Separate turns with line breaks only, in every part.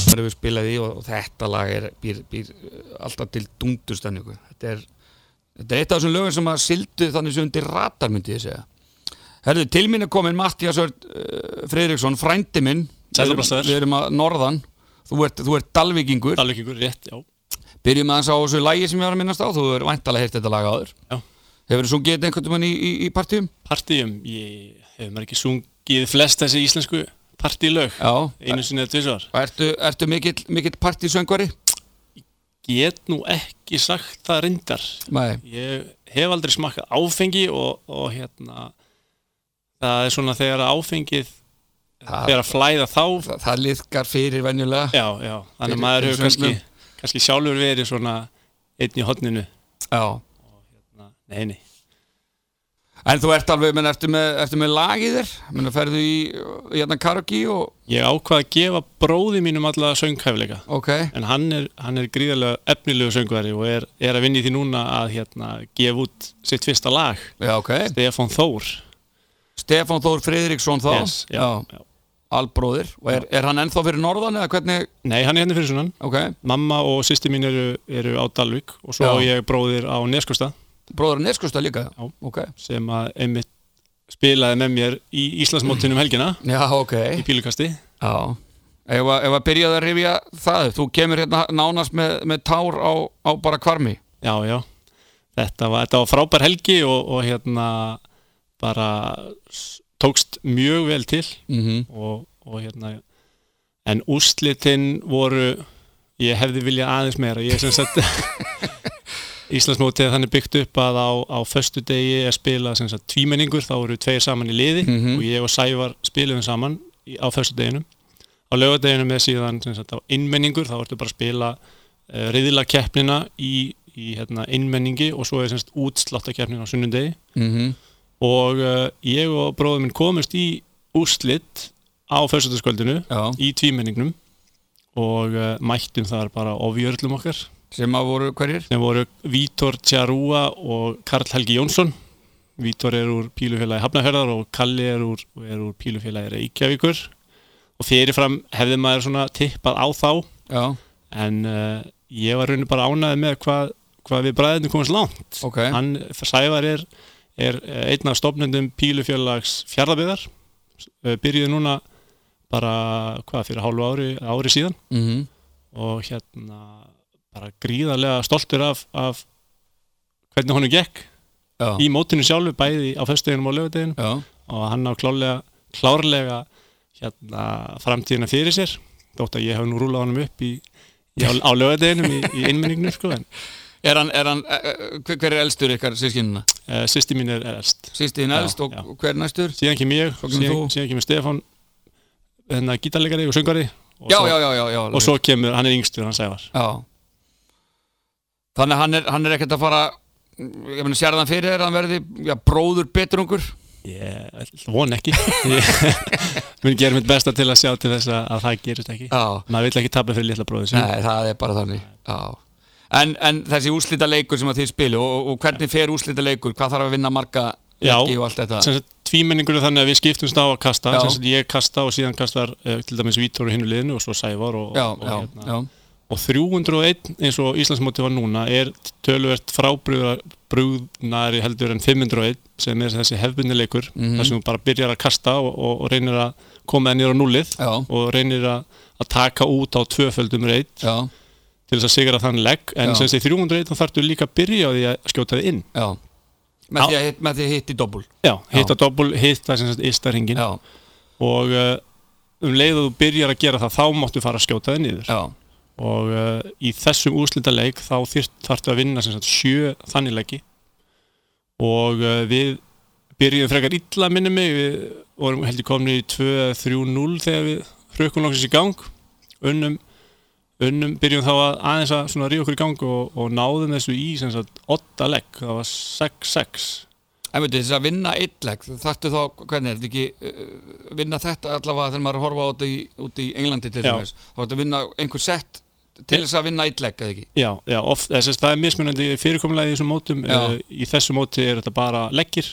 maður hefur spilað í og, og þetta lag er, býr, býr uh, alltaf til dungdustenningu þetta er, þetta er eitt af þessum lögum sem að sildu þannig sem undir ratar myndi ég segja Herðu, til mín er komin Mattias Örd uh, Fredriksson, frændi minn
Sæll og
Við erum-
blessaður.
Við erum að norðan Þú ert, þú ert dalvíkingur
Alveg ykkur rétt, já
Byrjum aðeins á þessu lagi sem ég var að minnast á Þú er væntalega heyrt þetta lag áður
Já.
Hefur þú getið einhvern veginn í, í, í partíum?
Partíum, ég hef maður ekki sungið flest þessi íslensku partílög
Já
Einu sinni eða tvisvar
Og Ertu, ertu mikill, mikill partísöngvari?
Get nú ekki sagt það reyndar
Nei
Ég hef aldrei smakkað áfengi og, og hérna Það er svona þegar áfengið
Það-
Þegar að flæða þá
Þa, Það liðkar fyrir venjulega
Já, já, þannig
Fyrir-
að maður
fyrir
hefur kannski,
söngnum.
kannski sjálfur verið svona einn í hotninu
Já
Nei, nei,
En þú ert alveg, menn, ertu með, ertu með lagið þér? Menn, ferðu í, í hérna karaoke og,
ég ákvað að gefa bróði mínum alla sönghæfileika
ok,
en hann er, hann er gríðarlega efnilegu söngveri og er, er að vinna í því núna að hérna, gefa út sitt fyrsta lag
já, ok.
Stefán Þór
Stefán Þór Friðriksson þá,
Yes, já, já.
albróðir. Og er, er hann ennþá fyrir norðan eða hvernig,
Nei, hann er hérna fyrir sunnan
ok,
Mamma og sýsti mín eru, eru á Dalvík og
Já.
svo já. ég bróðir á Neskustad
bróður Neskusta líka?
Já.
Ok,
sem að einmitt spilaði með mér í Íslandsmótinu um helgina
já, ok,
í pílukasti
já. Ef að, ef að byrjaði að rifja það, upp, þú kemur hérna nánast með, með tár á, á bara kvarmi.
Já, já Þetta var, þetta var frábær helgi og, og hérna bara s- tókst mjög vel til
Mm -hmm.
og, og hérna en úrslitin voru ég hefði viljað aðeins meira ég sem sagt Íslandsmótið er þannig byggt upp að á, á föstu degi er spilað sem sagt tvímenningur þá eru tveir saman í liði
Mhm.
og ég og Sævar spilum saman í, á föstu deginum á lögadeginum er síðan sem sagt á innmenningur þá ertu bara að spila uh, riðila keppnina í, í hérna, innmenningi og svo er sem sagt útsláttakeppnin á sunnundegi mhm. og uh, ég og bróður minn komumst í úrslit á fyrstutaskvöldinu
Já,
í tvímenningnum og uh, mættum þar bara ofjörlum okkar
sem að voru hverjir?
sem voru Vítor Tjarúa og Karl Helgi Jónsson Vítor er úr pílufélagi Hafnahörðar og Kalli er úr, er úr pílufélagi Reykjavíkur og fyrirfram hefði maður svona tippað á þá
Já,
en uh, ég var rauninu bara ánaði með hvað, hvað við bræðinu komumst langt
ok,
hann, Sævar er, er eh, einn af stopnendum pílufélags fjárðabiðar byrjuði núna bara hvað fyrir hálfu ári, ári síðan
mm
og hérna bara gríðarlega stoltur af, af hvernig honum gekk
já,
í mótinu sjálfu bæði á föstudeginum og lögudeginum
já,
og hann á klárlega, klárlega hérna, framtíðina fyrir sér þótt að ég hef nú rúlað honum upp í, í, á, á lögudeginum í, í innmenninginu sko, en
Er hann, er hann, eh, hver, hver er elstur ykkar sískinuna?
uh, sýsti mín er elst
Sýsti þín
Já,
elst og
já.
hver næstur?
síðan kem ég,
Svo kemur
síðan,
þú.
síðan kemur Stefán hérna gítarleikari og söngari og,
Já,
svo,
já, já, já, já
og svo kemur, hann er yngstur, hann Sævar
Já Þannig að hann er, hann er ekkert að fara ég meina sérðan fyrir þér að hann verði já, bróður betrungur
ég von ekki ég mun gera mitt besta til að sjá til þess að, að það gerist ekki
Já,
maður vill ekki tapa fyrir litla bróðið sín
nei, það er bara þannig Já En, en þessi úslita leikur sem að þið spilu og, og hvernig fer úslita leikur, hvað þarf að vinna marga
Já.
leiki og allt þetta
sem sagt, tvímenningur er þannig að við skiptumst á að kasta
Já.
sem sagt, ég kasta og síðan kastar uh, til dæmis Vítor og hinnu liðinu og svo Sævar og,
Já,
og, hérna.
já, já,
og 301 eins og Íslandsmóti var núna er töluvert frábrúðnari heldur en 501 sem er þessi hefbundileikur mm
Mhm.
þar sem þú bara byrjar að kasta og, og, og reynir að koma það nýra á núlið
já,
og reynir að, að taka út á tvöföldum reyt
já,
til þess að sigra þann legg en
Já.
sem þessi 301 þá þarftu líka að byrja á því að skjóta þið inn
já. Með,
Já.
því að, hitt- með því að hitti dobbul
Já, hitta doppul, hitta sem sagt ystaringin
Já,
og uh, um leið að þú byrjar að gera það þá máttu fara að skjóta þið niður
já,
og uh, í þessum úrslitaleik þá þyrt, þarftu að vinna sem sagt sjö þannigleiki og uh, við byrjuðum frekar illa minni mig við vorum heldur komni í 2-3-0 þegar við hrökkum langsins í gang unnum, unnum byrjuðum þá að aðeins að svona ríða okkur í gang og, og náðum þessu í sem sagt 8 legg, það var 6-6
En veitu, þess að vinna ylleg, þarftu þá, hvernig er þetta ekki, uh, vinna þetta allavega þegar maður er að horfa á þetta í, út í Englandi til
Já.
þess, þá ertu að vinna einhver sett til þess að vinna ylleg, eða ekki?
Já, já oft, þess, það er mismunandi fyrirkomulagi í þessum mótum
Já.
uh, í þessu móti er þetta bara leggir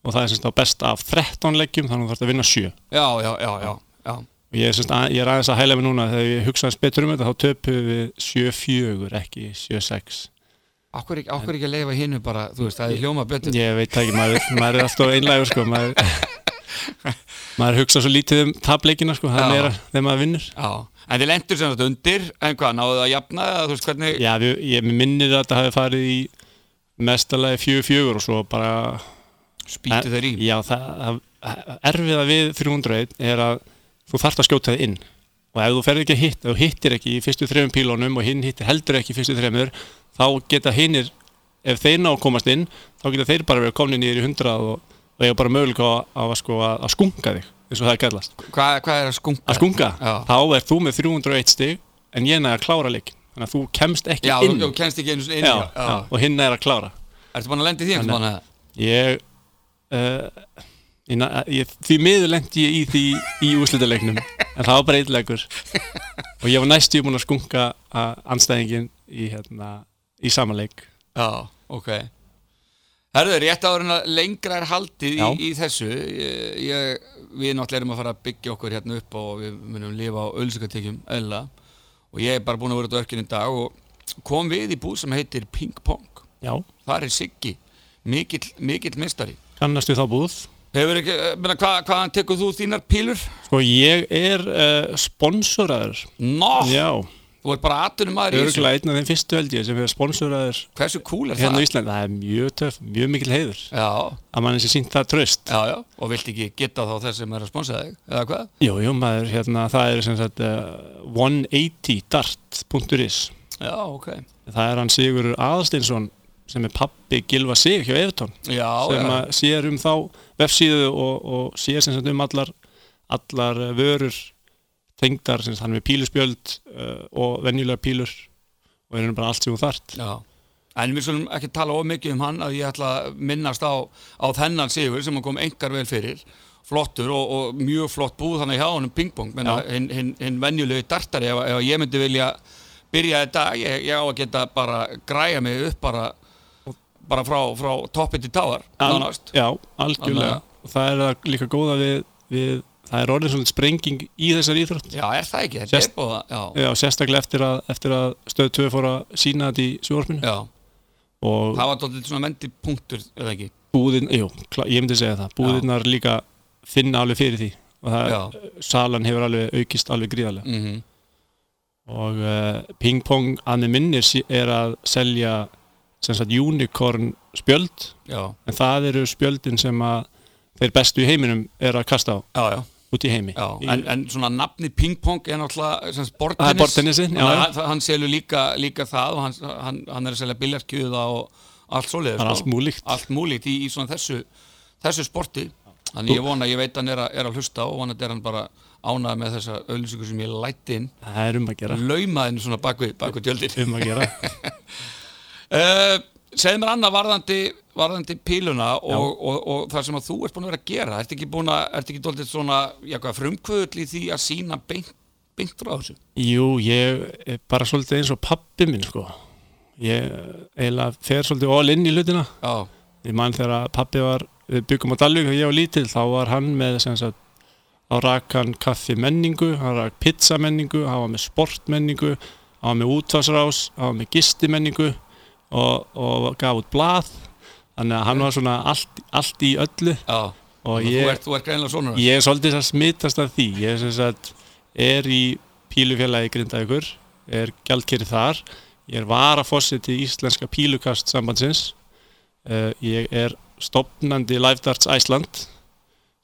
og það er sem sagt á best af 13 leggjum þannig að þú þarfst að vinna 7
Já, já, já, já, já,
og ég, er sem sagt að, ég er aðeins að hæla mig núna þegar ég hugsa aðeins betur um þetta þá töpum við 7-4 ekki 7-6
Akkur ekki, akkur ekki að leifa hinnu bara, þú veist, það er hljóma betur
ég veit það ekki, maður, maður er alltaf einlægur sko, maður, maður hugsa svo lítið um tapleikina sko, það
Já.
er meira þegar maður vinnur
Já, en þið lendur sem þetta undir en hvað, náðu það að jafna eða þú veist hvernig
Já, við, ég minnir að þetta hafi farið í mestalagi 4-4 og svo bara
spýtu þeir í
Já, það, það erfiða við 300 er að þú þarft að skjóta þið inn og ef þú ferð ekki að hitt, ef þú hittir ekki í fyrstu þrejum pílónum og hinn hittir heldur ekki í fyrstu þrejumur þá geta hinnir, ef þeir ná að komast inn þá geta þeir bara verið komni nýður í 100 og, og eiga bara möguleika á, á að, sko, að, að skunga þig, eins og það er kallast
Hvað, hvað er að skunka?
að skunga,
Já.
þá er þú með 301 stig en ég næði að klára leikin þannig að þú kemst ekki
Já, þú,
inn
þú kennst ekki einu sinni inn
já,
já,
já, og hinn er að klára
Ertu búin að lenda í því einhvern
Þannig-
veginn? eða?
ég, uh, ég, na- ég því miður lendi ég í því í úrslitaleiknum en það var bara eitthleikur og ég var næstu búin að skunka að anstæðingin í, hérna, í sama leik
Já, ok Herðu, rétt áður en að lengra er haldið í,
Já.
í þessu ég, ég, Við náttúrulega erum að fara að byggja okkur hérna upp og við munum lifa á ölsikatekjum eðla og ég er bara búin að vera á dörkinn í dag og kom við í búð sem heitir Ping Pong
já,
Þar er Siggi, mikill, mikill mistari
kannast við þá búð
Hefur ekki, eh, meina, hva, hvaðan tekur þú þínar pílur?
sko ég er uh, sponsoraður
Nó,
já,
þú ert bara atunum maður Ah, í þessu
örgulega einn af þeim fyrstu held ég sem er sponsoraður
Hversu cool er
hérna á
það?
Íslandi, það er mjög töff, mjög mikil heiður
Já,
að mann sé sínt það tröst
já, já, og vilt ekki geta þá þess sem er að sponsa þig, eða hvað?
Jú, jú, maður, hérna, það er sem sagt uh, 180dart.is
Já, ok
Það er hann Sigur Aðalsteinsson sem er pappi Gilva Sig hjá Evertón
Já,
sem
já,
að sér um þá vefsíðu og, og sér sem sagt um allar, allar eh, vörur tengdar, sem sagt hann er með píluspjöld uh, og venjulega pílur og er hann bara allt sem hún þart
já En við skulum ekki tala of mikið um hann að ég ætla að minnast á, á þennan sigur sem hann kom engar vel fyrir flottur og, og mjög flott búð þannig hjá honum pingpong menna
Já.
hinn hin, hin venjulegu dartari ef, ef ég myndi vilja byrja þetta ég, ég á að geta bara græja mig upp bara, bara frá, frá toppi til táar nánast
Já, algjörlega
Þannig
og það er það líka góða við, við það er orðin svona sprenging í þessari íþrótt
Já, er það ekki? Þetta
Sérst-
er búið að, já,
Já, sérstaklega eftir að, eftir að stöð 2 fór að sína þetta í sjóarpinu
já,
og
það var tóttið svona vendi punktur, eða ekki?
búðin, jú, klá, ég myndi segja það búðinnar líka finna alveg fyrir því og það,
Já,
salan hefur alveg aukist alveg gríðarlega
mhm,
og uh, Ping Pong að með minnir sí- er að selja sem sagt unicorn spjöld
já,
en það eru spjöldin sem að þeir bestu í heiminum er að kasta á
já, já,
út í heimi
já.
Í-
En, en svona nafni pingpong er náttúrulega, sem
Það er
sportennis,
bortennisinn, já, já,
hann, hann selur líka, líka það og hann, hann, hann er að selja biljartkjöða og allt svoleiður,
það er allt múlíkt
allt múlíkt í, í svona þessu, þessu sporti, þannig ég vona, ég veit hann er, a, er að hlusta og vonandi er hann bara ánað með þessa auðlýsingu sem ég læti inn,
það er um að gera,
laumaðin svona bakvið, bakvið tjöldin.
um að gera.
Uh, segð mér annað varðandi, varðandi píluna og, og, og, það sem að þú ert búin að vera að gera ertu ekki búin að, ertu ekki doldið svona já, hvað, frumkvöðl í því að sína beint, beint frá þessu?
Jú, ég er bara svolítið eins og pappi minn sko ég eiginlega fer svolítið all in í hlutina
Já,
ég man þegar að pappi var við byggum á Dalvík og ég var lítill þá var hann með sem sagt þá rak hann kaffi menningu, hann rak pizza menningu hann var með sport menningu hann var með útvarsrás, hann var með gisti menningu og, og gaf út blað þannig að hann var svona allt, allt í öllu
já,
og
þú
ég,
ert, þú ert greinlega svona
ég er svolítið að smitast af því ég er, sem sagt, er í pílufélagi Grindavíkur er gjaldkerri þar ég er varafossið til Íslenska pílukast sambandsins uh, ég er stopnandi Live Darts Æsland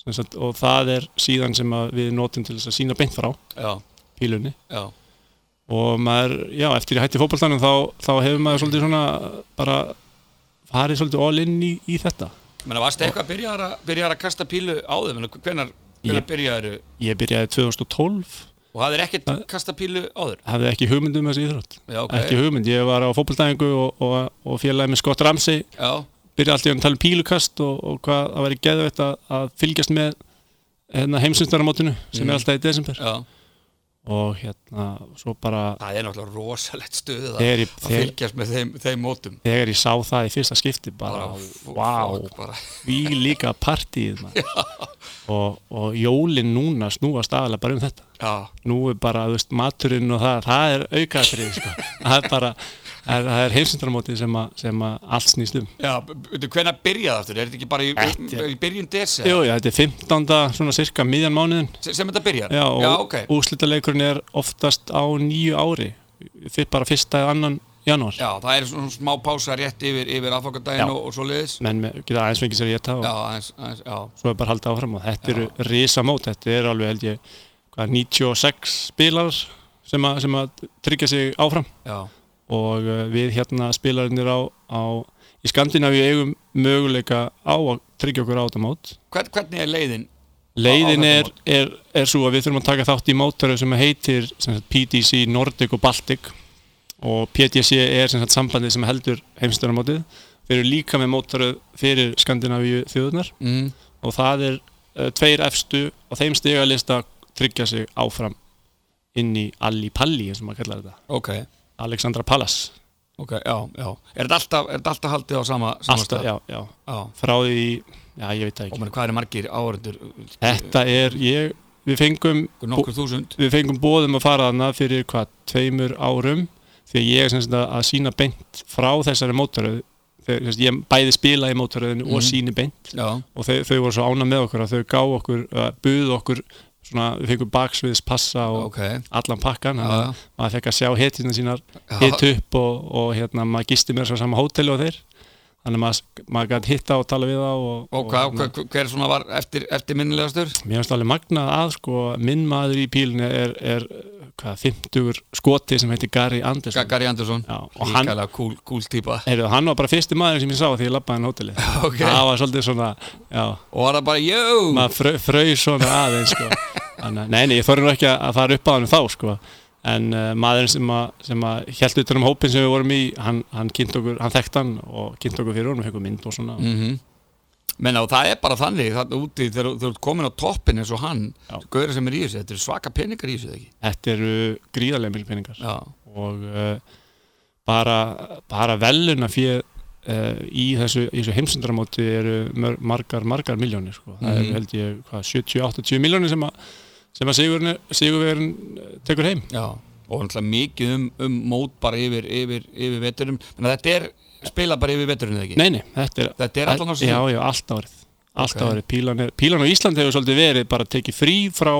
sem sagt, og það er síðan sem að við notum til þess að sína beint frá
Já,
pílunni
já,
og maður, já, eftir ég hætti fótboltanum þá, þá hefur maður svolítið svona bara farið svolítið all in í, í þetta
menna varstu eitthvað að byrjaðar að, byrjaðar að kasta pílu á þau, menna hvenar, hvenar
Ég-
byrjaðar og
ég byrjaði 2012
það er ekkert kasta pílu á þau?
hafði ekki hugmynd um þessi íþrótt
Já, ok,
ekki hugmynd, ég var á fótboltæðingu og, og, og félagið með Scott Ramsey
já,
byrjaði alltaf að tala um pílukast og, og hvað það væri geðveitt að, að fylgjast með hérna, heimsumstæramótinu sem
Mm.
er alltaf í desember
já,
og hérna, svo bara
það er náttúrulega rosalegt stöðu það
þegar ég,
að
þegar,
fylgjast með þeim, þeim mótum
þegar ég sá það í fyrsta skipti bara, vá,
fólk bara.
því líka partíð maður. og, og jólin núna snúast aðalega bara um þetta
Já,
nú er bara, þú veist, maturinn og það það er aukaðrið, sko það er bara, það er, það er heimsendramótið sem, að- sem að allt snýst um
já, veitu, hvenær byrjaði aftur? Er þetta ekki bara í,
Þetta-
í byrjun desi?
Jú, já, þetta er 15. svona cirka miðjan mánuðin
Sem sem þetta byrjar?
já, og
já ok.
úrslitaleikurinn er oftast á nýju ári fyrir bara fyrsta eða annan janúar
Já, það er svona smá pása rétt yfir, yfir aðfokkardaginn
Já.
og, og svo liðis.
menn með- geta aðeins fengið sér að geta og
Já, aðeins, aðeins, já.
svo er bara haldið áfram og þetta eru risamót, þetta er alveg held ég hvað, 96 spilar sem að, sem að tryggja sig áfram
Já,
og uh, við hérna spilarinnir á, á í Skandinavíu eigum möguleika á að tryggja okkur á þetta mót
Hvern, hvernig er leiðin?
leiðin
Á- á
er,
þetta
er, er svo að við þurfum að taka þátt í mótaru sem heitir sem sagt, PDC Nordic og Baltic og PDC er sem sagt, sambandið sem heldur heimstöðarmótið þeir eru líka með mótaru fyrir Skandinavíu þjóðunar
Mm.
og það er uh, tveir efstu og þeim stigalista tryggja sig áfram inn í Alli Palli eins og maður kallar þetta
Ok,
Alexandra Palace
ok, já, já. Er þetta alltaf, er þetta alltaf haldið á sama, sama
Alltaf,
stað?
já, já,
já.
frá því já, ég veit
Og
það ekki
meni, hvað eru margir áhörundur?
þetta er, ég, við fengum
Nokkur þúsund?
við fengum bóðum að fara þarna fyrir hvað, tveimur árum því að ég er sem sagt að, að sína beint frá þessari mótaröð þegar sem sagt, ég bæði spila í mótaröðinu
Mhm.
og síni beint
Já,
og þau, þau voru svo ána með okkur að þau gá okkur, uh, buðu okkur svona, við fengum baksviðs passa og
ok.
allan pakkan,
Já,
þannig
já.
að maður fekk að sjá hetjuna sínar
Já.
hitt upp og, og hérna maður gisti mér svo sama hóteli og þeir þannig að maður, maður gæti hitta og tala við þá og,
Og
og,
hvað, hver, hver svona var eftir, eftir minnilegastur?
Mér finnst alveg magnað að sko, minn maður í pílinni er, er hvað, 50 skoti sem heitir Gary Anderson
Gary Andersson
Já, og hann,
Ríkala cool, cool típa
heyrðu, hann var bara fyrsti maður sem ég sá því ég lappaði hann hótelið
Ok.
það var svolítið svona já,
Og var það bara, jú
maður frö, fröy svona aðeins sko. Þannig, að- nei, nei, ég þorði nú ekki að, að fara upp á hann þá sko. en uh, maðurinn sem, a, sem að held utan um hópin sem við vorum í hann, hann, kynnt okkur, hann þekkt hann og kynnt okkur fyrir honum, fengið mynd og svona
mm Menna, og það er bara þannig Þannig úti, þegar þú- þegar þú ert komin á toppin eins og hann
Já.
Gauður sem er í þessu, þetta eru svaka peningar í þessu eða ekki
þetta eru gríðarlega mjög peningar
Já,
og uh, bara, bara veluna fyrir uh, í þessu, í þessu heimsendramóti eru mör- margar, margar miljónir sko. það
Mhm.
eru held ég hvað, 70-80 miljónir sem að sem að sigurinn- sigurvegarinn eh, tekur heim
já Og náttúrulega mikið um, um mót bara yfir, yfir, yfir veturum Menna, þetta er spila bara yfir veturum eða ekki
Nei, nei, þetta er
Þetta er allan á sig
já, já, allt árið, allt
Ok.
árið. Pílan, er, pílan á Ísland hefur svolítið verið bara tekið frí frá,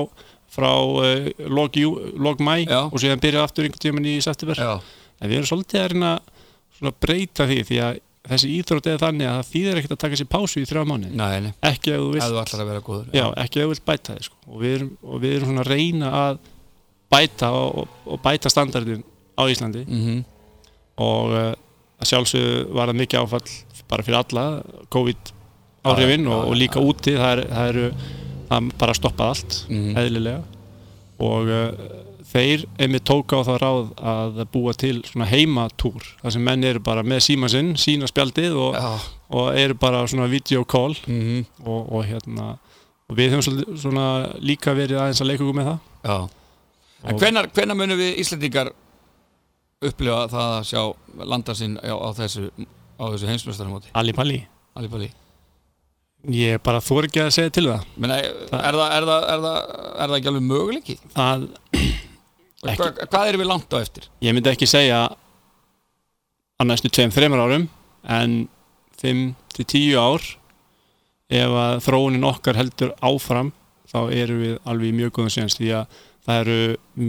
frá uh, log, jú, log mæ
Já.
og síðan byrjað aftur einhvern tímann í september
já,
En við erum svolítið að reyna svona að breyta því því að þessi íþrótt er þannig að það þýðir ekkert að taka sér pásu í þrjá mánuði.
nei, nei,
Ekki ef þú
ef
vilt,
þú ætlar að vera góður
já, ekki ef þú vilt bæta þig sko. Og við erum, og við erum svona að reyna að bæta og, og, og bæta standardin á Íslandi
mm
og uh, að sjálfsögðu var það mikið áfall bara fyrir alla, COVID
Já,
áhrifin
já,
og,
já,
og líka
já.
úti, það eru, það eru það bara stoppað allt
Mhm.
eðlilega og uh, þeir einmitt tóka á það ráð að búa til svona heimatúr þar sem menn eru bara með síma sinn, sína spjaldið og,
Já,
og eru bara svona video call
mm
og, og hérna og við höfum svolítið svona líka verið aðeins að leika okkur með það
já En
Og-
hvenar, hvenar munum við Íslendingar upplifa það að sjá landa sinn á, á þessu, á þessu heimsmestarmóti?
Ali Palli,
Alibali.
ég bara þor ekki að segja til það
Menna, er, það, er, það, er, það, er það ekki alveg möguleiki?
það, Ekki.
Hva, hvað erum við langt á eftir?
ég myndi ekki segja á næstu 2-3 árum en 5-10 ár ef að þróunin okkar heldur áfram þá erum við alveg í mjög góðum séns því að það eru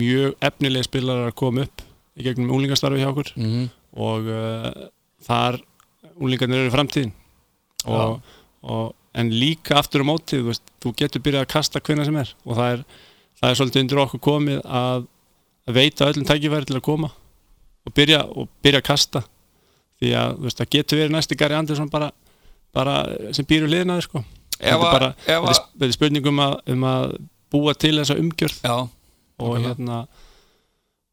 mjög efnilega spilarar að koma upp í gegnum úlingastarfi hjá okkur
Mm -hmm.
og uh, þar úlingarnir eru framtíðin og, og, en líka aftur á móti þú, veist, þú getur byrjað að kasta hvenna sem er og það er, það er svolítið undir okkur komið að, að veita öllum tækifæri til að koma og byrja, og byrja að kasta því að þú veist, það getur verið næsti Gary Andersson bara, bara sem býr um liðina þér sko.
Ef
Þetta er
að,
bara-
ef
þetta
að,
er- þetta er spurning um að, um að búa til þessa umgjörð
já,
og
Nákvæmlega.
hérna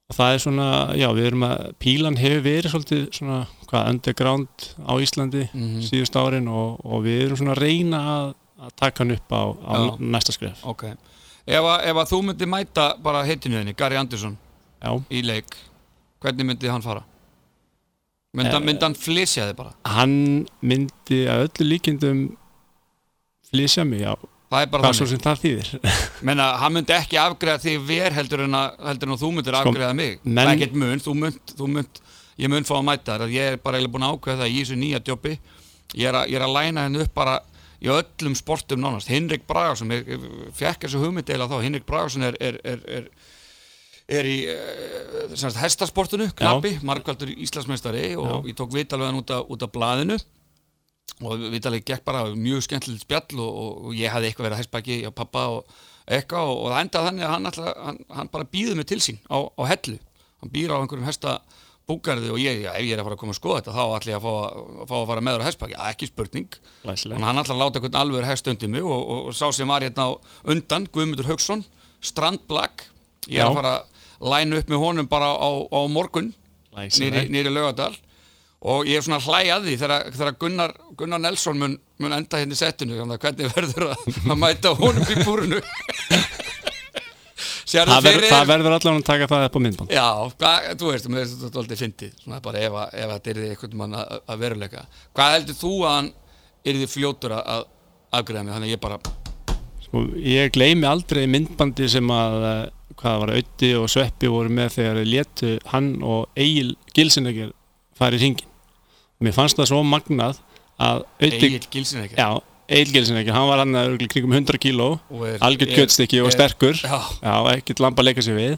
og það er svona, já við erum að pílan hefur verið svolítið svona hvað, underground á Íslandi
mm
síðust árin og, og við erum svona að reyna að, að taka hann upp á, á
Já.
næsta skref
ok. ef að, ef að þú myndir mæta bara heitinu þinni, Gary Anderson
Já,
í leik, hvernig myndi hann fara? Myndi,
Eh.
hann- myndi hann flysja þig bara?
hann myndi að öllu líkindum flysja mig, já,
Það er bara
hvað svo
þannig.
sem það þýðir
Menna, hann myndi ekki afgreða þig ver heldur en að, heldur en að þú myndir afgreða mig.
Sko, menn-
Það er ekkert mun, þú mynd, þú mynd, ég mun fá að mæta þér. Ég er bara eiginlega búin að ákveða það í þessu nýja djópi. Ég er að, ég er að læna henni upp bara í öllum sportum nánast. Hinrik Bragason, ég fekk þessu hugmynd eila þá. Hinrik Bragason er, er, er, er er í eh, sem sagt, hestasportinu, knappi, margkvæltur Íslandsmeistari og
Já.
ég tók vitalvegan út, af- út af blaðinu og vitalveg gekk bara mjög skemmtilegt spjall og, og, og ég hafði eitthvað verið að hestbaki á pappa og eitthvað og, og það endaði þannig að hann, alltaf, hann, hann bara býði mig til sín á, á hellu hann býr á einhverjum hesta búgarði og ég, já, ef ég er að fara að koma að skoða þetta þá ætla ég að fá að, fá að fara meður á hestbaki ja, ekki spurning
Læsileg.
Þannig að hann ætlar að láta einhvern alveg hægt undir mig og, og, og sá sem var hérna á undan, Guðmundur Haugsson, Strand Black, ég er
Já.
að fara að læna upp með honum bara á, á morgun, nýri,
Læsileg.
nýri laugadal og ég er svona að hlæja að því þegar, þegar Gunnar, Gunnar Nelson mun, mun enda hérna í settinu, þannig að hvernig verður að, að mæta honum í búrinu. Sérðu
Það, ver,
fyrir
það verður allan að taka það upp á myndband
Já, hvað, þú veist, mér finnst þetta aldrei fyndið, svona bara ef, að- ef þetta yrði einhvern mann að, að veruleika. Hvað heldur þú að hann yrði fljótur að- að afgreða mig, þannig að ég bara,
sko, Ég gleymi aldrei myndbandi sem að eh, hvað var Ötti og Sveppi voru með þegar þeir létu hann og Egil Gilsinegger farið hringin Mér fannst það svo magnað að Ötti,
Egil Gilsin ekki.
já, Egil Gilsinegger hann var hann að örgulega kringum 100 kíló algjörn kjötstykki og sterkur
Já,
já, ekkert lamb að leika sér við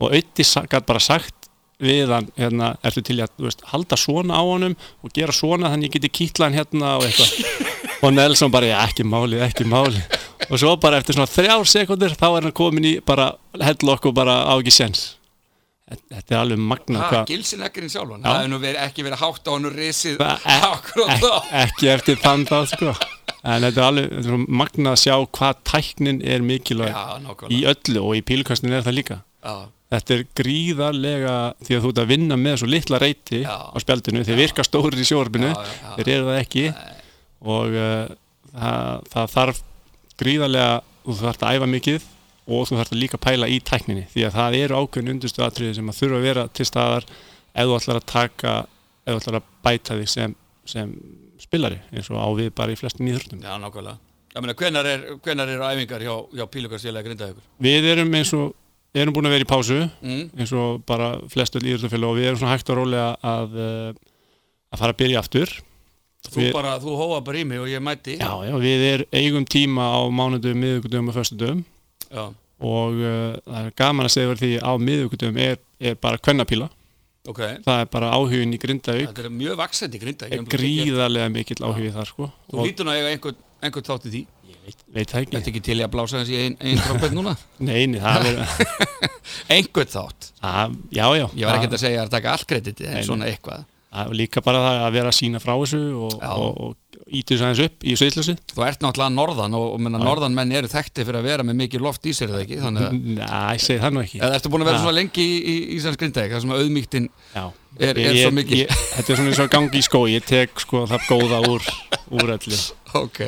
og Ötti gæt bara sagt við hann, hérna, ertu til í að þú veist, halda svona á honum og gera svona þannig ég geti kýtla hann hérna og eitthvað og Nelson bara, já, ekki máli, ekki máli og svo bara eftir svona þrjár sekundur þá er hann komin í bara hellokk og bara á ekki sens Þetta- þetta er alveg magna
ha, Gilsin ekkerinn sjálfan, það hefur nú verið, ekki verið hátt á hann og risið akkurat
ek,
þá.
ekki eftir þann þá sko. en þetta er alveg þetta er svo magna að sjá hvað tæknin er mikilvæg
Já,
í
nákvæmlega.
öllu og í pílkastin er það líka
Já,
Þetta er gríðarlega því að þú ert að vinna með svo litla reyti
Já.
á spjaldinu, þeir virka stórir í sjórfinu
Já, já, já.
þeir eru það ekki og uh, það, það þarf gríðarlega, þú þarf að æfa mikið og þú þarf að líka pæla í tækninni því að það eru ákveðin undustu atriði sem að þurfa að vera til staðar ef þú ætlar að taka, ef þú ætlar að bæta þig sem, sem spilari eins og á við bara í flestum íþróttum
já, nákvæmlega. Ég meina, hvenar, er, hvenar eru æfingar hjá, hjá pílugarsfélagi grindaðugur?
Við erum eins og, erum búin að vera í pásu
Mm?
eins og bara flestu íðrutafélag og við erum svona hægt og rólega að, eh, að fara að byrja aftur
Þú
Við-
bara, þú hófa bara í mig og ég mæti.
Já, já, við er eigum tíma á mánudum, miðugudum og föstudum
Já,
og uh, það er gaman að segja verið því að á miðugudum er, er bara kvennapíla
ok.
það er bara áhugin í Grindavík
Þetta er mjög vaksandi grinda.
er gríðarlega mikill áhugi þar sko
Þú
og
lítur nú að eiga einhvern, einhvern þátt í því.
veit það
Þetta
ekki,
ekki til í að blása þessi einn ein trompet núna?
neini, það er
Einhvern þátt.
að, já, já,
Ég var ekkert að segja að taka all krediti en
Nei,
svona eitthvað.
að, líka bara það að vera að sína frá þessu og,
Já.
og, og, og ítu þessu aðeins upp í sveitlusi
Þú ert náttúrulega norðan og, og menna, norðan menn eru þekkti fyrir að vera með mikið loft í sér er það ekki. Þannig að,
Næ, ég segi það nú ekki
eða ertu búin að vera
Já.
svona lengi í, í Íslands grindaði, það sem að auðmýktin
Já.
er, er svo mikið.
ég, þetta er svona eins og að gangi í skó ég tek sko það góða úr, úr öllu
Ok,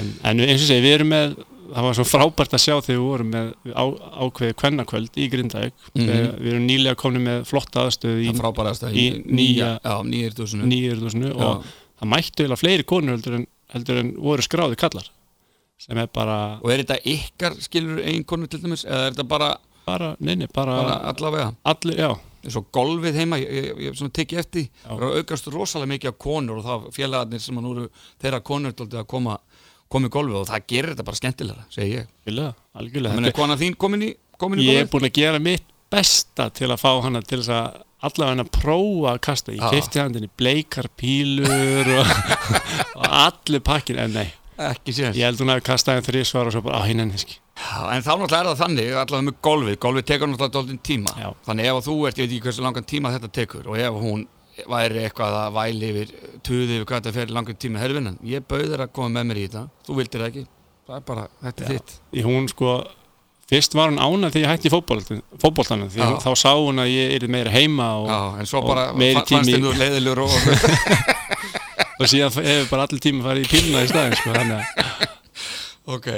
en, en eins og segi, við erum með það var svo frábært að sjá þegar við vorum með á, ákveðið kvennakvöld í Grindavík
Mhm.
við, við erum nýlega komin með flotta aðstöð í
það frábærast að
í nýja-
já, nýjir túsinu.
nýjörðusinu
Já.
og það mættu eða fleiri konur heldur en, heldur en voru skráði kallar sem er bara,
Og er þetta ykkar skilur einn konu til dæmis eða er þetta bara,
bara neini, bara,
bara allavega?
allir, já
eins og golfið heima, ég, ég, ég svona tekið eftir
Já.
það er að aukast rosalega mikið á konur og það félagarnir sem að nú eru þeirra konur til að koma, koma í golfið og það gerir þetta bara skemmtilega, segi ég.
algjörlega, algjörlega
Það meina, kona þín komin í, komin í
ég er
golfið?
búin að gera mitt besta til að fá hana til þess að allavega að prófa að kasta ég
Já.
keipti handinni bleikar pílur og, og allir pakkin en nei,
Ekki séðan.
ég held hún að kasta henni þrísvar og svo bara á hinn henni ekki
En þá náttúrulega er það þannig, allavega með golfið, golfið tekur náttúrulega dóltinn tíma.
Já.
Þannig ef að þú ert, ég veit ekki hversu langan tíma þetta tekur og ef hún væri eitthvað að væli yfir, tuði yfir hvað þetta fer langan tíma, herfinnan, ég bauðir að koma með mér í þetta, þú vildir það ekki, það er bara, þetta er þitt.
Því hún sko, fyrst var hún ánað þegar ég hætti í fótboltan- fótboltanum því
Já.
hún, þá sá hún að ég er meira heima og,
Já, en svo
og
bara
meiri
fa- fannst
tími-
þér þú leiðilegur og
og síðan hefur bara allir tíma farið í píluna í staðin sko, þannig að
Ok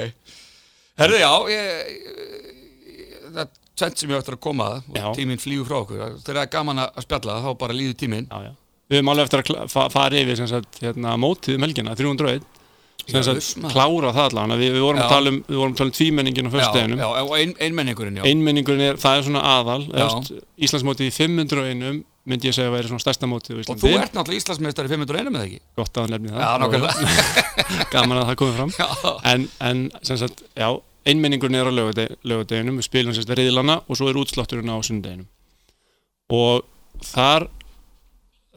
Herðu, já, ég, ég- það er tvent sem ég ætti að koma að og
Já.
tíminn flýgur frá okkur. Þegar það er gaman að að spjalla þá bara líður tíminn.
já, já. Við höfum alveg eftir að kla- fa- fara yfir sem sagt, hérna, mótið um helgina, 301 sem
Já,
sagt,
uss, maður.
klára það allavega við, við vorum
Já.
að tala um, við vorum að tala um tvímenningin á
já,
föstudeginum,
já, og ein, einmenningurinn, já.
einmenningurinn er, það er svona aðal
Já.
Efst, Íslandsmótið í 501 myndi ég segja að væri svona stærsta mótið á
og
Íslandi,
þú ert náttúrulega Íslandsmeistar í 501 með það ekki?
gott að hann nefni
Já,
það
nákvæmlega.
gaman að það komið fram
Já,
en, en sem sagt, já, einmenningur er á lögade- lögadeginum, við spilum sérst reyðlana og svo er útslátturinn á sundeginum og þar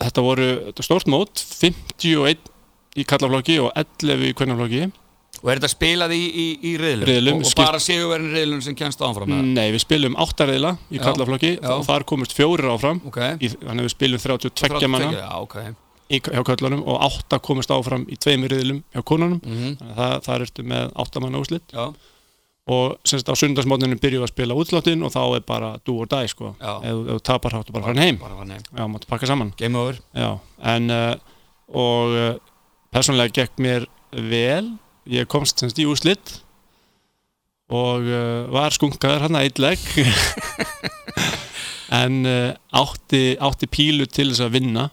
þetta voru þetta var stórt mót 51 í kallaflokki og 11 í kvennaflokki
og er þetta spilað í, í, í riðlum?
Riðlum,
og, og
skipt-
bara sigurverðin riðlum sem kemst áfram með
Nei, við spilum 8 reyðla í
Já,
kallaflokki
já.
og þar komist fjórir áfram
Ok.
í, þannig að við spilum 32 Mm. manna
Já, ok.
í, hjá kallunum og 8 komist áfram í tveimur reyðlum hjá konunum
Mm
Þannig að það, það ertu með 8 manna úslit
Já,
og semst á sundarsmótninu byrjuðu að spila útsláttin og þá er bara do or die sko
Já.
ef, ef þú tapar hátt og bara farin heim
bara var nefn.
já, máttu pakka saman
Game over.
já. en uh, og uh, persónlega gekk mér vel ég komst semst í úslitt og uh, var skunkaður hann að eitleg en uh, átti, átti pílu til þess að vinna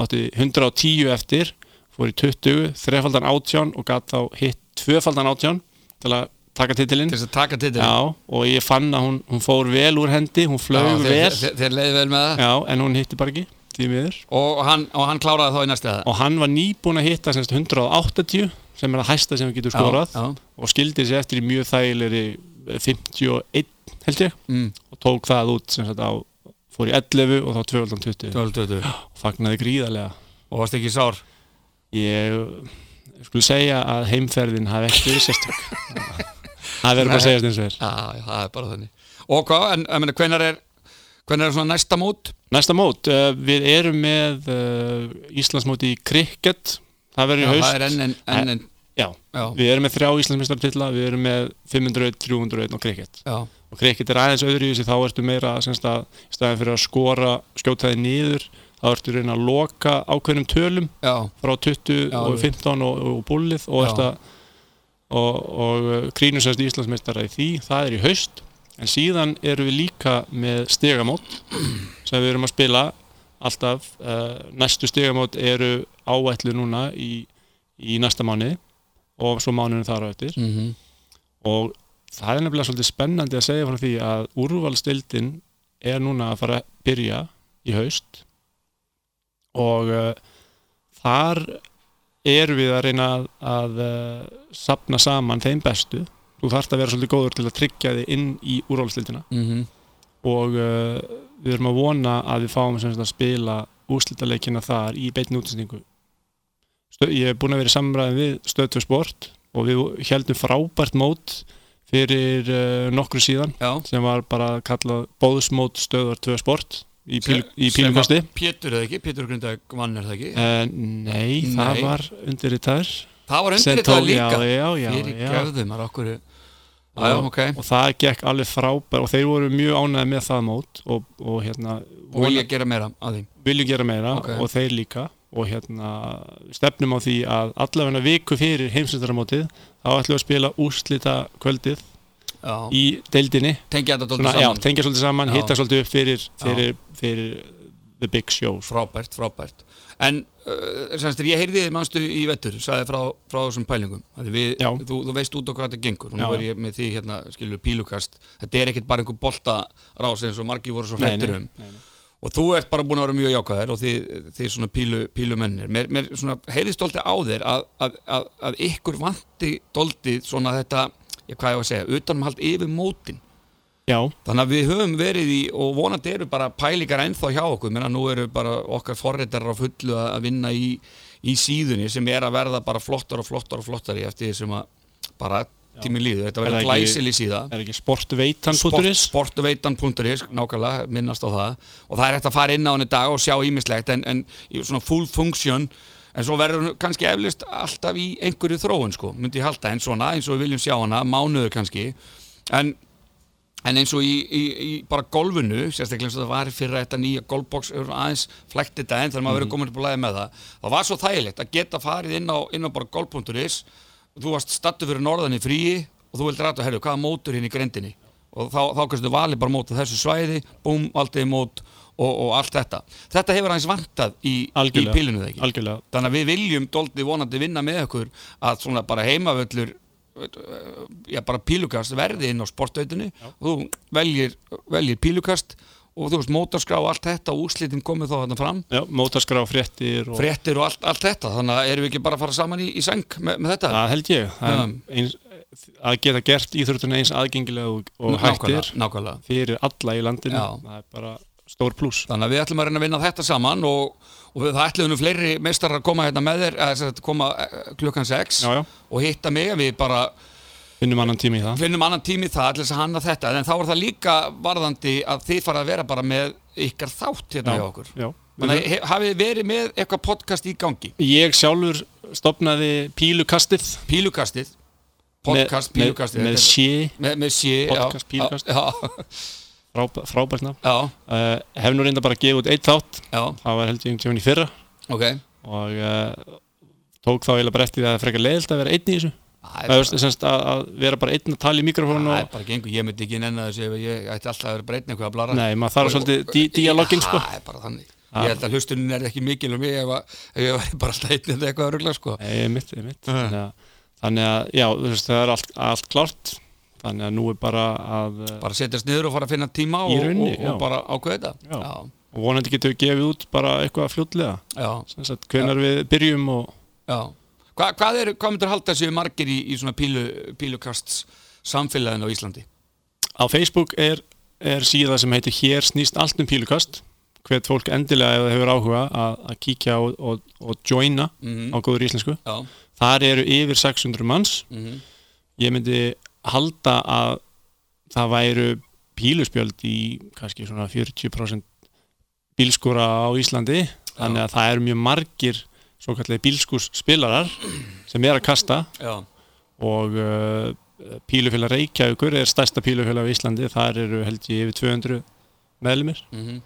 átti 110 eftir fór í 20, þrefaldan 18 og gatt þá hitt tvöfaldan 18 til að taka titilinn
Til þess að taka titil.
Já, og ég fann að hún, hún fór vel úr hendi, hún flög vel,
Þeir, þeir leiði vel með það.
já, en hún hitti bara ekki, því miður.
Og hann, og hann kláraði þá í næstu eða?
Og hann var nýbúin að hitta semst 180, sem er að hæsta sem við getur skorað,
Já,
og skildi sér eftir í mjög þægilegri eh, 51, held ég,
já. Mm,
og tók það út sem sagt á, fór í 11 og þá 12.20
12, 20.
og fagnaði gríðarlega.
Og varst ekki sár?
Ég, ég skulle segja að heimferðin hafi ekki verið sérstök. Það verður bara að
Nei.
segjast eins og er.
Já, já, það er bara þannig. Og hvað, en, en meni, hvenar er, hvenar er svona næsta mót?
Næsta mót, uh, við erum með uh, Íslandsmóti í krikket það verður í haust Eh,
það er enn, enn, enn, enn.
Já.
Já,
Við erum með þrjá Íslandsmeistartitla, við erum með 500, 301 og krikket
já.
og krikket er aðeins öðru í þessi þá ertu meira semst að í staðin fyrir að skora skjótaði niður, þá ertu reyna að loka ákveðnum tölum
Já,
frá
Já,
20 og
alveg.
15 og, og búlið og,
Já.
ertu að- og, og uh, krínum semst Íslandsmeistara í því, það er í haust en síðan erum við líka með stegamót sem við erum að spila alltaf uh, næstu stegamót eru áætlu núna í, í næsta mánu og svo mánuðin þar á eftir
mm
og það er nefnilega svolítið spennandi að segja frá því að úrvalstildin er núna að fara að byrja í haust og uh, þar erum við að reyna að, að uh, sapna saman þeim bestu þú þarft að vera svolítið góður til að tryggja þig inn í úrvalstildina
mhm,
og uh, við erum að vona að við fáum sem sagt að spila úrslitaleikina þar í beinni útsendingu Stö- ég er búin að vera í samræðin við stöð til sport og við heldum frábært mót fyrir uh, nokkru síðan
já.
sem var bara kallað bóðsmót stöðar 2 sport í, píl,
Sem-
í
sem
pílukosti
Pétur eða ekki, Pétur Grundag vann er það ekki?
uh, nei, það
Nei.
var undirritaður
það var
Sem
undir
tók-
þetta líka.
já, já, já,
Fyrir
já.
gefðum, það er okkur. Já, já, ok.
og það gekk alveg frábært og þeir voru mjög ánægði með það mót og, og hérna
Og vilja gera meira að því.
viljum gera meira
Ok.
og þeir líka og hérna stefnum á því að allavegna viku fyrir heimsveistaramótið þá ætlum við að spila úrslita kvöldið
Já.
í deildinni
Tengja þetta dóldur
Svona, já,
saman.
tengja svolítið saman,
Já.
hitta svolítið upp fyrir, fyrir, fyrir the big show sko.
Frábært, frábært. En uh, semstur, ég heyrði þið mannstu í vettur, sagði frá, frá þessum pælingum. Af því Við,
Já.
þú, þú veist út á hvað þetta gengur. Og Nú
Já,
er
já.
ég með því hérna, skilur, pílukast. Þetta er ekkert bara einhver boltarás eins og margir voru svo hrettir um.
nei, nei.
Og þú ert bara búin að vera mjög jákvæðir og þið, þið svona pílu, pílumennir. Mér, mér svona heyrðist dóldi á þér að, að, að, að ykkur vanti dóldið svona þetta, ég, hvað ég á að segja, utanumhald yfir mótin.
Já,
Þannig að við höfum verið í og vonandi eru bara pælingar ennþá hjá okkur menna nú eru bara okkar forreitar á fullu að að vinna í, í síðunni sem er að verða bara flottar og flottar og flottar í eftir því sem að bara tími líður, þetta
Er
verður
það ekki-
glæsileg síða
er ekki sportveitan.is
sportveitan.is, nákvæmlega, minnast á það og það er hægt að fara inn á henni dag og sjá ímislegt en, en í svona full function en svo verður hún kannski eflust alltaf í einhverju þróun sko, myndi ég halda en svona eins og við viljum sjá hana, mánuður kannski en, en eins og í, í, í bara golfinu, sérstaklega eins og það var fyrir þetta nýja golfbox hefur aðeins flækt þetta en þegar maður verður komin upp að læða með það það var svo þægilegt að geta farið inn á, inn á bara golf.is þú varst stattu fyrir norðan í fríi og þú vilt rata, herru, hvað er mótur hinn í grendinni og þá, þá kannski valið bara mót á þessu svæði, búm, aldrei mót og, og allt þetta. Þetta hefur aðeins vantað í, í
Algjörlega.
pílinu þegar ekki.
algjörlega
Þannig að við viljum doldið vonandi vinna með okkur að svona bara heimavöllur eh, já bara pílukast verði inn á sportauðinu og þú veljir, veljir pílukast og þú veist mótarskrá og allt þetta og úrslitin komið þá þarna fram
Já, mótaskra fréttir og
fréttir og allt, allt þetta þannig að erum við ekki bara að fara saman í, í seng með, með þetta
það held ég Það er
Já.
eins, að geta gert íþróttuna eins aðgengilega og, og hættir
nákvæmlega, nákvæmlega
fyrir alla í landinu
Já.
það er bara stór pluss
Þannig að við ætlum að reyna að vinna þetta saman og, og við það ætlum nú fleiri meistarar að koma hérna með þér, eða sem sagt koma eh, klukkan 6
já, já,
og hitta mig, við bara
finnum annan tíma í það
finnum annan tími í það allir þess að hanna þetta, en þá er það líka varðandi að þið fara að vera bara með ykkar þátt hérna hjá okkur.
já. Mhm.
Þannig að he- hafið þið verið með eitthvað podcast í gangi,
ég sjálfur stopnaði pílukastið
pílukastið, podcast,
með,
pílukastið,
með, með
þetta
sé
er- með, með sé,
Podcast, pílukast.
já, já,
frábæ, frábært nafn
já,
uh, hef nú reynda bara að gefa út eitt þátt
já,
það var held ég einhvern tímann í fyrra
ok.
og uh, tók þá eiginlega bara eftir því að það er frekar leiðilt að vera einn í þessu
Það
Það er semst að, að vera bara einn að tala í mikrofónu
það er
og
bara gengur, ég myndi ekki nenni þessu ef ég ætti alltaf að vera breytn eitthvað að blara.
Nei, maður þarf svolítið dí díalogin sko
Það er bara þannig.
Já.
Ég held að hlustunin er ekki mikil um mig ef, að, ef ég væri bara alltaf einnið eitthvað að rugla sko.
Nei, mitt, mitt
Já.
Þannig að, þannig að já, þú veist, það er allt, allt klart Þannig að nú er bara að eh, bara.
Bara setjast niður og fara að finna tíma
Í
og,
rauninni,
og,
já.
og bara ákveða þetta.
Já.
Já.
vonandi getum við gefið út bara eitthvað fljótlega
Já.
sem sagt, hvenar við byrjum og
Já. Hva, hvað, er, hvað myndir halda séu margir í, í svona pílu, pílukasts samfélaginu á Íslandi?
á Facebook er, er síða sem heitir Hér snýst allt um pílukast hvert fólk endilega ef það hefur áhuga að, að kíkja og, og, og joina
Mm
á góður íslensku
Já.
Þar eru yfir 600 manns
Mm
ég myndi halda að það væru píluspjöld í kannski svona 40% bílskúra á Íslandi þannig að það eru mjög margir svo kallið bílskússpilarar sem er að kasta
Já.
og uh, pílufélag Reykjavíkur er stærsta pílufélag á Íslandi þar eru held ég yfir 200 meðlumir
Mm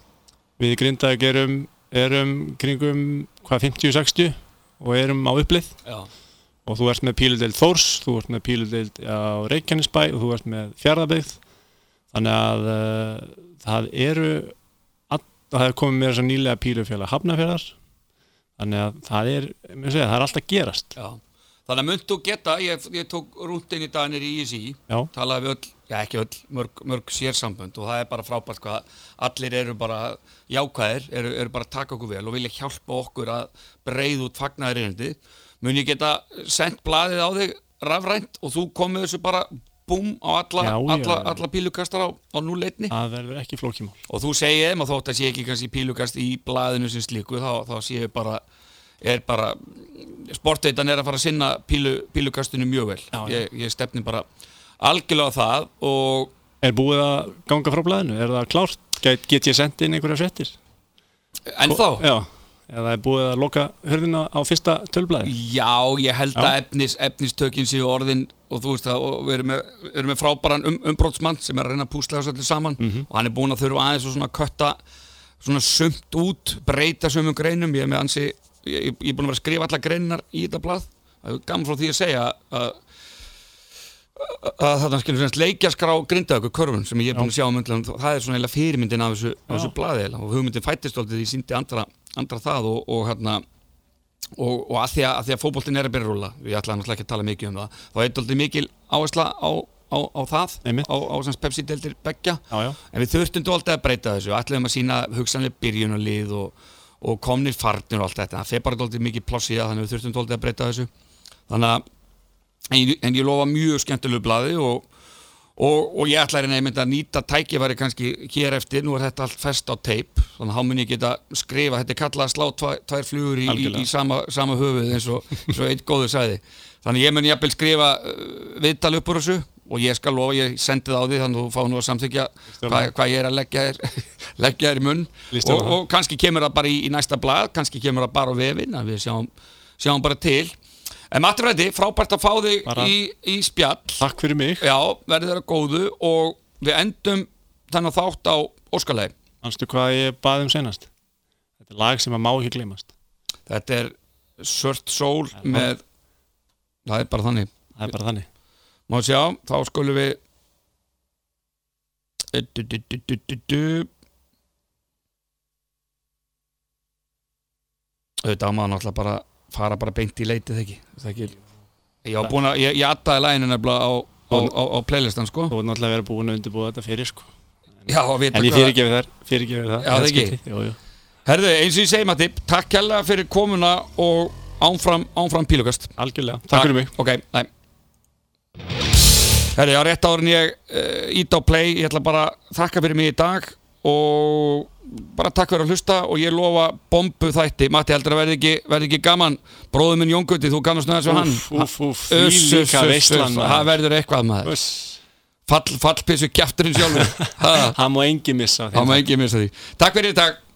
við í Grindavík erum, erum kringum hvað 50-60 og erum á upplið
Já.
og þú ert með píludeild Þórs, þú ert með píludeild á Reykjanesbæ og þú ert með Fjarðabyggð þannig að uh, það eru all, það hefur komið meira svo nýlega pílufélag Hafnafjörðar þannig að það er, mér segja, það er alltaf gerast
Já. Þannig að munt þú geta, ég, ég tók rúndin í daginir í ISI,
Já.
talaði við öll, já ekki öll, mörg, mörg sérsambönd og það er bara frábært hvað allir eru bara jákvæðir, eru, eru bara að taka okkur vel og vilja hjálpa okkur að breyða út fagnaðirinnandi. Mun ég geta sendt blaðið á þig rafrænt og þú komið þessu bara búm á alla,
Já, já,
alla,
já.
alla pílukastar á, á núleitni
það verður ekki flókimál
og þú segir þeim að þótt að sé ekki kannski pílukast í blaðinu sem slíku þá, þá séu bara er bara, sportveitan er að fara að sinna pílu, pílukastinu mjög vel
Já, já.
ég, ég stefni bara algjörlega á það og
Er búið að ganga frá blæðinu? Er það klárt? Get, get ég sendið inn einhverja fréttir?
ennþá
Já, eða er búið að loka hörðina á fyrsta tölblæði?
Já, ég held
Já.
að efnis, efnistökin séu orðin og þú veist það, og við erum með, við erum með frábæran um, umbrótsmann sem er að reyna að púsla þessu allir saman og hann er búin að þurfa aðeins og svona kötta svona sumt út, breyta sumum greinum, ég er með ansi ég, ég, ég er búin að vera að skrifa alla greinar í þetta blað það er gaman frá því að segja að að þarna skilur semst leikjaskrá grindaðöku körfun sem ég er búin að sjá um öndlega það er svona eiginlega fyrirmyndin af þessu, af þessu blaði eiginlega. og hugmyndin fættist aldrei því síndi andra, andra það og, og hérna og, og að því að, að, því að fótboltin er að byrja að rúla við ætlaðum náttúrulega ekki að tala mikið um það þá er aldrei mikil áhersla á, á, á það
Einmitt.
á, á semst Pepsi-deldir beggja
Já, já,
en við þurftum þú alltaf að breyta þessu ætlaðum að sína hugsanlega byrjunarlið og, og komnir farnir og allt þetta það fer bara alltaf mikið pláss í það þannig að við þurftum þú alltaf að breyta þessu þannig að en, ég- en ég lofa mjög skemmtilegu blaði og, og, og ég ætla að reyna einmitt að nýta tækifæri kannski hér eftir nú er þetta allt fest á teip þannig að þá mun ég geta skrifa þetta er kallað að slá tva, tvær flugur í, í,
Algjörlega.
í sama, sama höfuð eins og, eins og eitt góður sagði þannig að ég mun jafnvel skrifa uh, viðtal upp úr þessu og ég skal lofa, ég sendi það á því þannig að þú fá nú að samþykja hvað, hvað ég er að leggja þér, leggja þér í munn
Lýstu
og,
á það.
og kannski kemur það bara í, í næsta blað kannski kemur það bara á vefin að við sjáum, sjáum bara til en Matti Freddi, frábært að fá þig
Bara-
í, í spjall
takk fyrir mig
já, verður þeirra góðu og við endum þannig að þátt á Óskarlegi
Manstu hvað ég baði um senast? Þetta er lag sem að má ekki gleymast
þetta er Sört Sól með það er bara þannig
Það er bara þannig
Má sjá, þá skulum við Eh, du, du, du, du, du, du. Þetta ámaður náttúrulega bara fara bara beint í leitið ekki Það ekki Ég var búin að, ég, ég attaði læginu nefnilega á, á, á, á playlistan sko
Þú voru náttúrulega verið búin að undirbúa þetta fyrir sko
Já, að vita
En ég
hvað-
fyrirgefi þar, fyrirgefi það
Já, það ekki.
skipti, Jú, jú
Herðu, eins og ég segi Matti, takk kærlega fyrir komuna og ánfram, ánfram pílugast
Algjörlega, takk fyrir mig
Ok, næ Herri, já, rétt árin ég uh, ít á play Ég ætla bara að þakka fyrir mig í dag og bara takk fyrir að hlusta og ég lofa bombu þætti Matti, heldur að verði ekki, verði ekki gaman bróður minn Jóngutti, þú kannast nöðast við hann
Úff, úff, úff,
Uss, uss, uss,
þvílíka
uss,
veislan
það
maður.
verður eitthvað maður
Uss.
Fall, fallpissu kjæfturinn sjálfur Ha,
Það má engin missa af
Það
þeim
má engin missa því Takk fyrir í dag